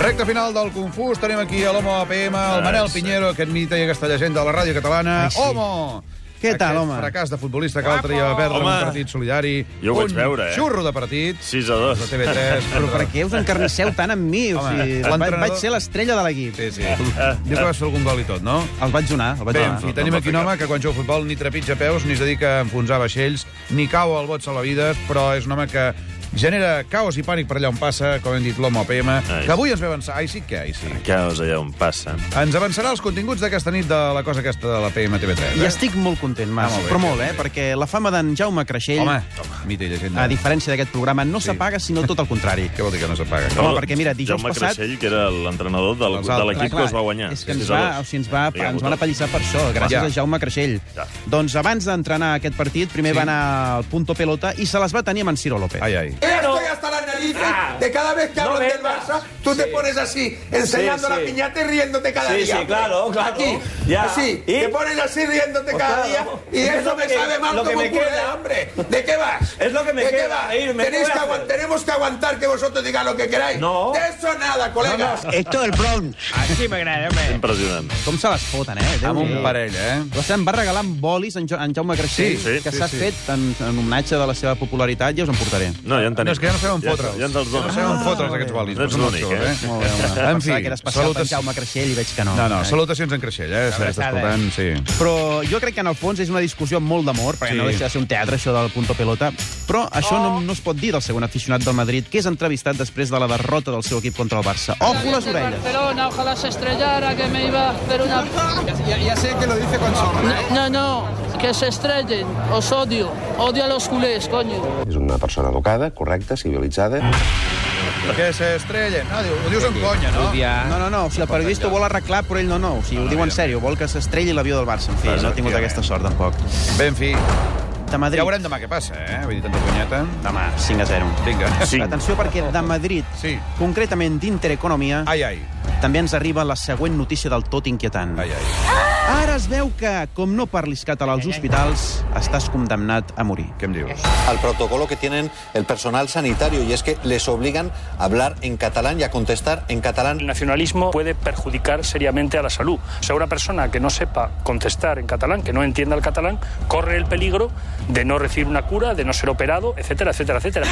Recte final del Confús, tenim aquí a l'Homo APM, el Manel Pinheiro, aquest mite i aquesta llegenda de la ràdio catalana. Ah, Ai, sí. Homo! Què tal, Aquest home? fracàs de futbolista que l'altre dia va perdre en Home. un partit solidari. Jo ho vaig un veure, eh? xurro de partit. 6 a 2. De TV3. Però per què us encarnisseu tant amb mi? O Home, sigui, l'entrenador- vaig, vaig ser l'estrella de l'equip. Sí, sí. Diu que vas fer algun gol i tot, no? El vaig donar, el vaig Bé, en donar. fi, no, tenim no aquí un fa home que quan juga a futbol ni trepitja peus, ni es dedica a enfonsar vaixells, ni cau al bot salvavides, però és un home que genera caos i pànic per allà on passa, com hem dit l'home OPM, Ai, que avui ens ve avançar. Ai, sí que ai, sí. Caos allà on passa. Ens avançarà els continguts d'aquesta nit de la cosa aquesta de la PM TV3. I eh? estic molt content, Mas, Ah, molt bé. però molt, eh? Perquè la fama d'en Jaume Creixell, Home, mite i llegenda. a diferència d'aquest programa, no s'apaga, sinó tot el contrari. Què vol dir que no s'apaga? No, perquè mira, dijous Jaume passat- Doncs Creixell, que era l'entrenador del- Els de altres. l'equip Clar, que us va guanyar. És que ens, 6 a va, 2. o sigui, ens, va, Hi ha ens hagut van el- apallissar per això, gràcies Ja. a Jaume Creixell. Ja. Doncs abans d'entrenar aquest partit, primer Sí. Ah, va anar al punto pelota i se les va tenir amb en Ciro López. Ai, ai. Estoy hasta las narices ¿eh? de cada vez que Ah, no hablan del vengas. Barça, tú te pones así, enseñando Sí, sí. la piñata y riéndote cada Sí, día. sí, hombre. claro, claro. Aquí, Ya. así, ¿Y? te pones así riéndote Pues cada claro. día y Es eso lo me que- sabe mal lo que como me un culé, queda. hombre. ¿De qué vas? Es lo que me ¿De qué queda, vas? ir, me Tenéis voy que a hacer. aguantar, tenemos que aguantar que vosotros digáis lo que queráis. No. De eso nada, colegas. Esto es el Bronx. Així m'agrada, home. Impressionant. Com se les foten, eh? Déu Amb un n'hi do. parell, eh? La se'n va regalar amb bolis en, jo en Jaume Creixell, Sí, sí, que sí, s'ha sí. fet en, en homenatge de la seva popularitat, ja us en portaré. No, ja en tenim. No, és que ja no sabem Ja, fotre'ls. ja ens els No dones. sabem fotre'ls, aquests bolis. No ets Són l'únic, absurds, eh? Molt bé, molt bé. En Pensava fi, que era especial salutes- per Jaume Creixell i veig que no. No, no, Eh? salutacions en Creixell, eh? Si l'estàs Abraçada. escoltant, sí. Però jo crec que en el fons és una discussió amb molt d'amor, perquè Sí. sí. no deixa de ser un teatre, això del punto pelota. Però això no, no es pot dir del segon aficionat del Madrid, que és entrevistat després de la derrota del seu equip contra el Barça. Ojo les orelles! Barcelona, ojalá se estrellara, que me iba a hacer una... Ja, ja sé que lo dice con ¿eh? sorna. No, no, que se estrellen, os odio, odio a los culés, coño. És una persona educada, correcta, civilitzada. Que s'estrellen. No, diu- ho dius en conya, no? No, no, no, o sigui, el periodista ho vol arreglar, però ell no, no. O sigui, ho diu en sèrio, vol que s'estrelli l'avió del Barça. En fi, no ha tingut aquesta sort, tampoc. Bé, en fi, De Madrid, ja veurem demà què passa, eh? Vull dir, tanta conyeta. demà, 5 a 0. Vinga. Sí. Atenció, perquè de Madrid, Sí. concretament d'Intereconomia, Ai, ai, també ens arriba la següent notícia del tot inquietant. ai, ai. Ara es veu que, com no parlis català als hospitals, estàs condemnat a morir. Què em dius? al protocolo que tienen el personal sanitario y es que les obligan a hablar en catalán y a contestar en catalán. El nacionalismo puede perjudicar seriamente a la salud. O sea, una persona que no sepa contestar en catalán, que no entienda el catalán, corre el peligro de no recibir una cura, de no ser operado, etcétera, etcétera, etcétera.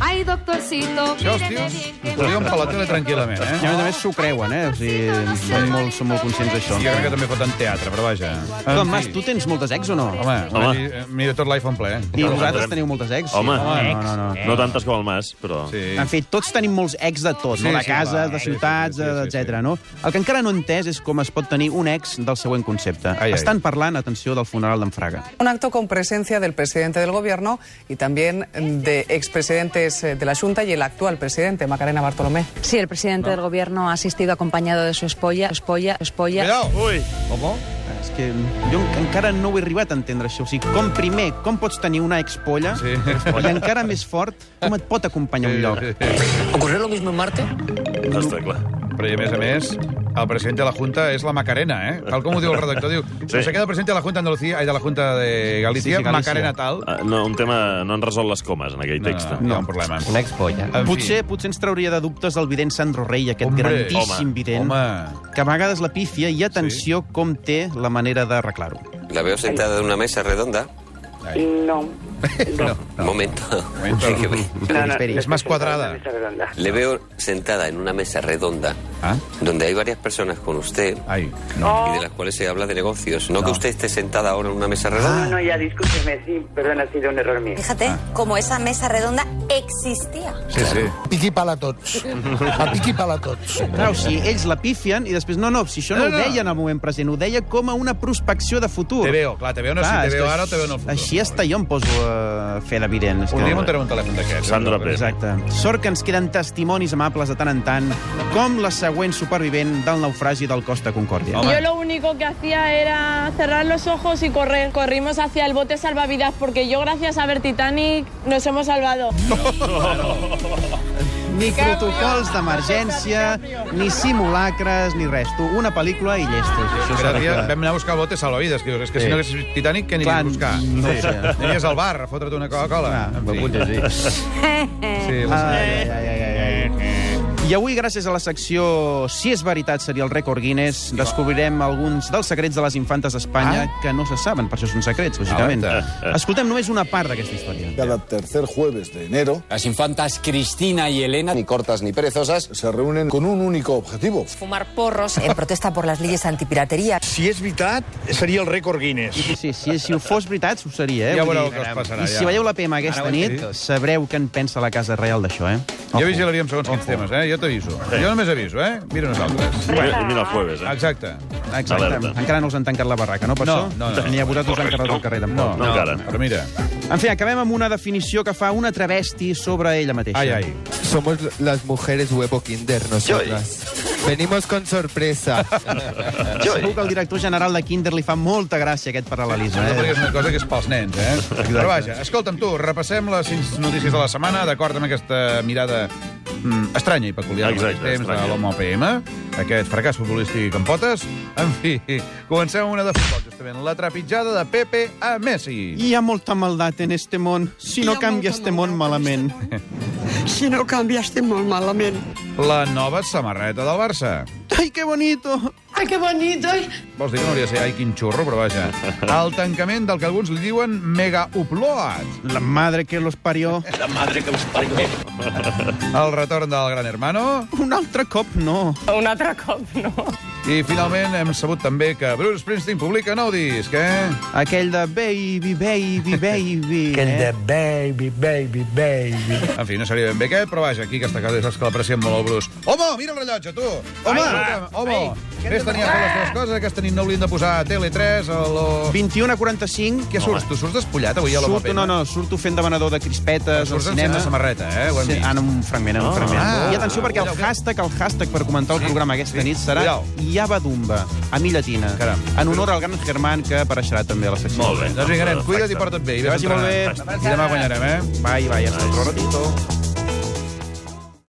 Ay, doctorcito, Això, els tios, ho diuen per la tele tranquil·lament, I a eh? més a més s'ho creuen, eh? O sigui, són molt, són molt conscients d'això. Doncs Jo crec que també foten teatre, però vaja. En Com, fi. Mas, tu tens moltes ex o no? Home, Home. home. Mira, mira tot l'iPhone ple. eh? I no, vosaltres no. teniu moltes ex? Home, no, no, no. no tantes com el Mas, però... Sí. En fi, tots tenim molts ex de tot, Sí, no? De sí, cases, clar. de Sí, ciutats, sí, sí, sí, sí. etc. no? El que encara no he entès és com es pot tenir un ex del següent concepte. Ai, ai. Estan parlant, atenció, del funeral d'en Fraga. Un acto con presencia del presidente del gobierno y también de expresidentes eh, de la Junta y el actual presidente, Macarena Bartolomé. Sí, el presidente del gobierno ha asistido acompañado de su espolla, espolla, espolla. Uh! Cuidao! Ui! Com? Ah, És que jo en- encara no ho he arribat a entendre, això. O sigui, com primer, com pots tenir una expolla Sí. i encara més fort, com et pot acompanyar a un lloc? ¿Ocurrió lo mismo en Marte? Està clar. Però i a més a més, el president de la Junta és la Macarena, eh? Tal com ho diu el redactor, diu... Sí. Se queda el president de la Junta de Andalucía, ai, de la Junta de Galícia, Sí, sí, Galícia. Macarena tal... Ah, No, un tema... No han resolt les comes en aquell text. eh? No, no, hi ha un problema. Una expolla. En fi. Potser, potser ens trauria de dubtes el vident Sandro Rey, aquest Hombre, grandíssim home, vident, Home, que a vegades la pífia i atenció com té la manera d'arreglar-ho. La veo sentada en una mesa redonda. No, Un momento. Momento. Que ve- és més quadrada. Le veo sentada en una mesa redonda Ah. donde hay varias personas con usted Ai, no. y de las cuales se habla de negocios. No, que usted esté sentada ahora en una mesa redonda. no, ya discúlpeme, sí, perdón, ha sido un error mío. Fíjate cómo esa mesa redonda existía. Sí, sí. Piqui para tots. A piqui para tots. Clar, o sigui, ells la pifien i després, no, no, si això No, no, ho no. deien al moment present, ho deia com a una prospecció de futur. Te veo, clar, te veo no, si és te que veo ara o te veo en el futur. Així hasta jo em poso a fer de vident. és Un que- dia muntarem un telèfon d'aquests. eh? Sandra Pérez. Exacte. Sort que ens queden testimonis amables de tant en tant, com la següent supervivent del naufragi del Costa Concòrdia. Home. Yo lo único que hacía era cerrar los ojos y correr. Corrimos hacia el bote salvavidas porque yo gracias a ver Titanic nos hemos salvado. ni protocols d'emergència, ni simulacres, ni res. Tu, una pel·lícula i llestes. Això s'ha Aquell dia de- vam anar a buscar botes a l'Oïdes, que dius, és que Sí. si no haguessis vist Titanic, què Clar, aniries a buscar? no ho sé. Aniries al bar a fotre't una Coca-Cola. Ah, En ho fi. vull llegir. Sí, la- Ai, ai, ai, ai, ai. I avui, gràcies a la secció Si és veritat seria el rècord Guinness, descobrirem alguns dels secrets de les infantes d'Espanya ah? que no se saben, per això són secrets, lògicament. Alerta. Escoltem només una part d'aquesta història. Cada tercer jueves de enero Las infantas Cristina y Elena Ni cortes ni perezosas. se reúnen con un único objetivo. Fumar porros en protesta por las leyes antipiratería. Si és veritat, seria el rècord Guinness. Sí, sí, si ho fos veritat, ho seria, eh? Ja Vull veureu dir, què us passarà, I ja. si veieu la PM aquesta Ara ho nit, he sabreu què en pensa la Casa Reial d'això, eh? Jo vigilaria amb segons quins temes, eh? Jo t'aviso. Jo només aviso, eh? Mira nosaltres. Mira, mira el jueves, eh? Exacte. Exacte. Alerta. Encara no us han tancat la barraca, no, per No, això? no, no. Ni a vosaltres us han carregat el carrer, tampoc. No, encara. Però mira, En fi, acabem amb una definició que fa una travesti sobre ella mateixa. ai, ai. Somos las mujeres huevo kinder nosotras. eh. Venimos con sorpresa. Segur que al director general de Kinder li fa molta gràcia aquest paral·lelisme. No, perquè Eh? és una cosa que és pels nens, eh? Però vaja, escolta'm tu, repassem les cinc notícies de la setmana d'acord amb aquesta mirada mm, estranya i peculiar al Exacte, mateix temps de estranya. l'home OPM, aquest fracàs futbolístic en potes. En fi, comencem amb una de futbol, justament. La trepitjada de Pepe a Messi. eh? Hi ha molta maldat en este món. Si no canvia este món malament. Si no canviaste molt malament. La nova samarreta del Barça. Ai, que bonito! Ai, que bonito. Vols dir que no hauria de ser ai, quin xurro, però vaja. El tancament del que alguns li diuen mega upload. La madre que los parió. El retorn del gran hermano. Un altre cop no. Un altre cop, no. I finalment hem sabut també que Bruce Springsteen publica nou disc, eh? Aquell de baby, baby, baby. eh? Aquell de... baby, baby, baby. En fi, no seria ben bé aquest, però vaja, aquí aquesta casa saps que l'apreciem molt al Bruce. Home, mira el rellotge, tu! Home! Ai, home! Fes tenir a fer les teves coses, aquesta nit no haurien de posar a Tele3 o... Lo... 21 a 45. Què surts? Tu surts despullat avui a la Surto, no, no, surto fent demanador de crispetes al Surts en cinema. sense samarreta, eh? Ho hem Sí, Ah, vist. en un fragment, en un fragment. Ah. I atenció, perquè el hashtag, el hashtag per comentar el programa aquesta nit serà Cuidao. Yabadumba, a mi llatina, Caram. en honor al gran Germán que apareixerà també a la secció. Molt bé. Doncs vinga, nen, cuida't i Perfecte. porta't bé. I Que vés vagi molt entrenant. I demà guanyarem, eh? Vai, vai, hasta otro ratito.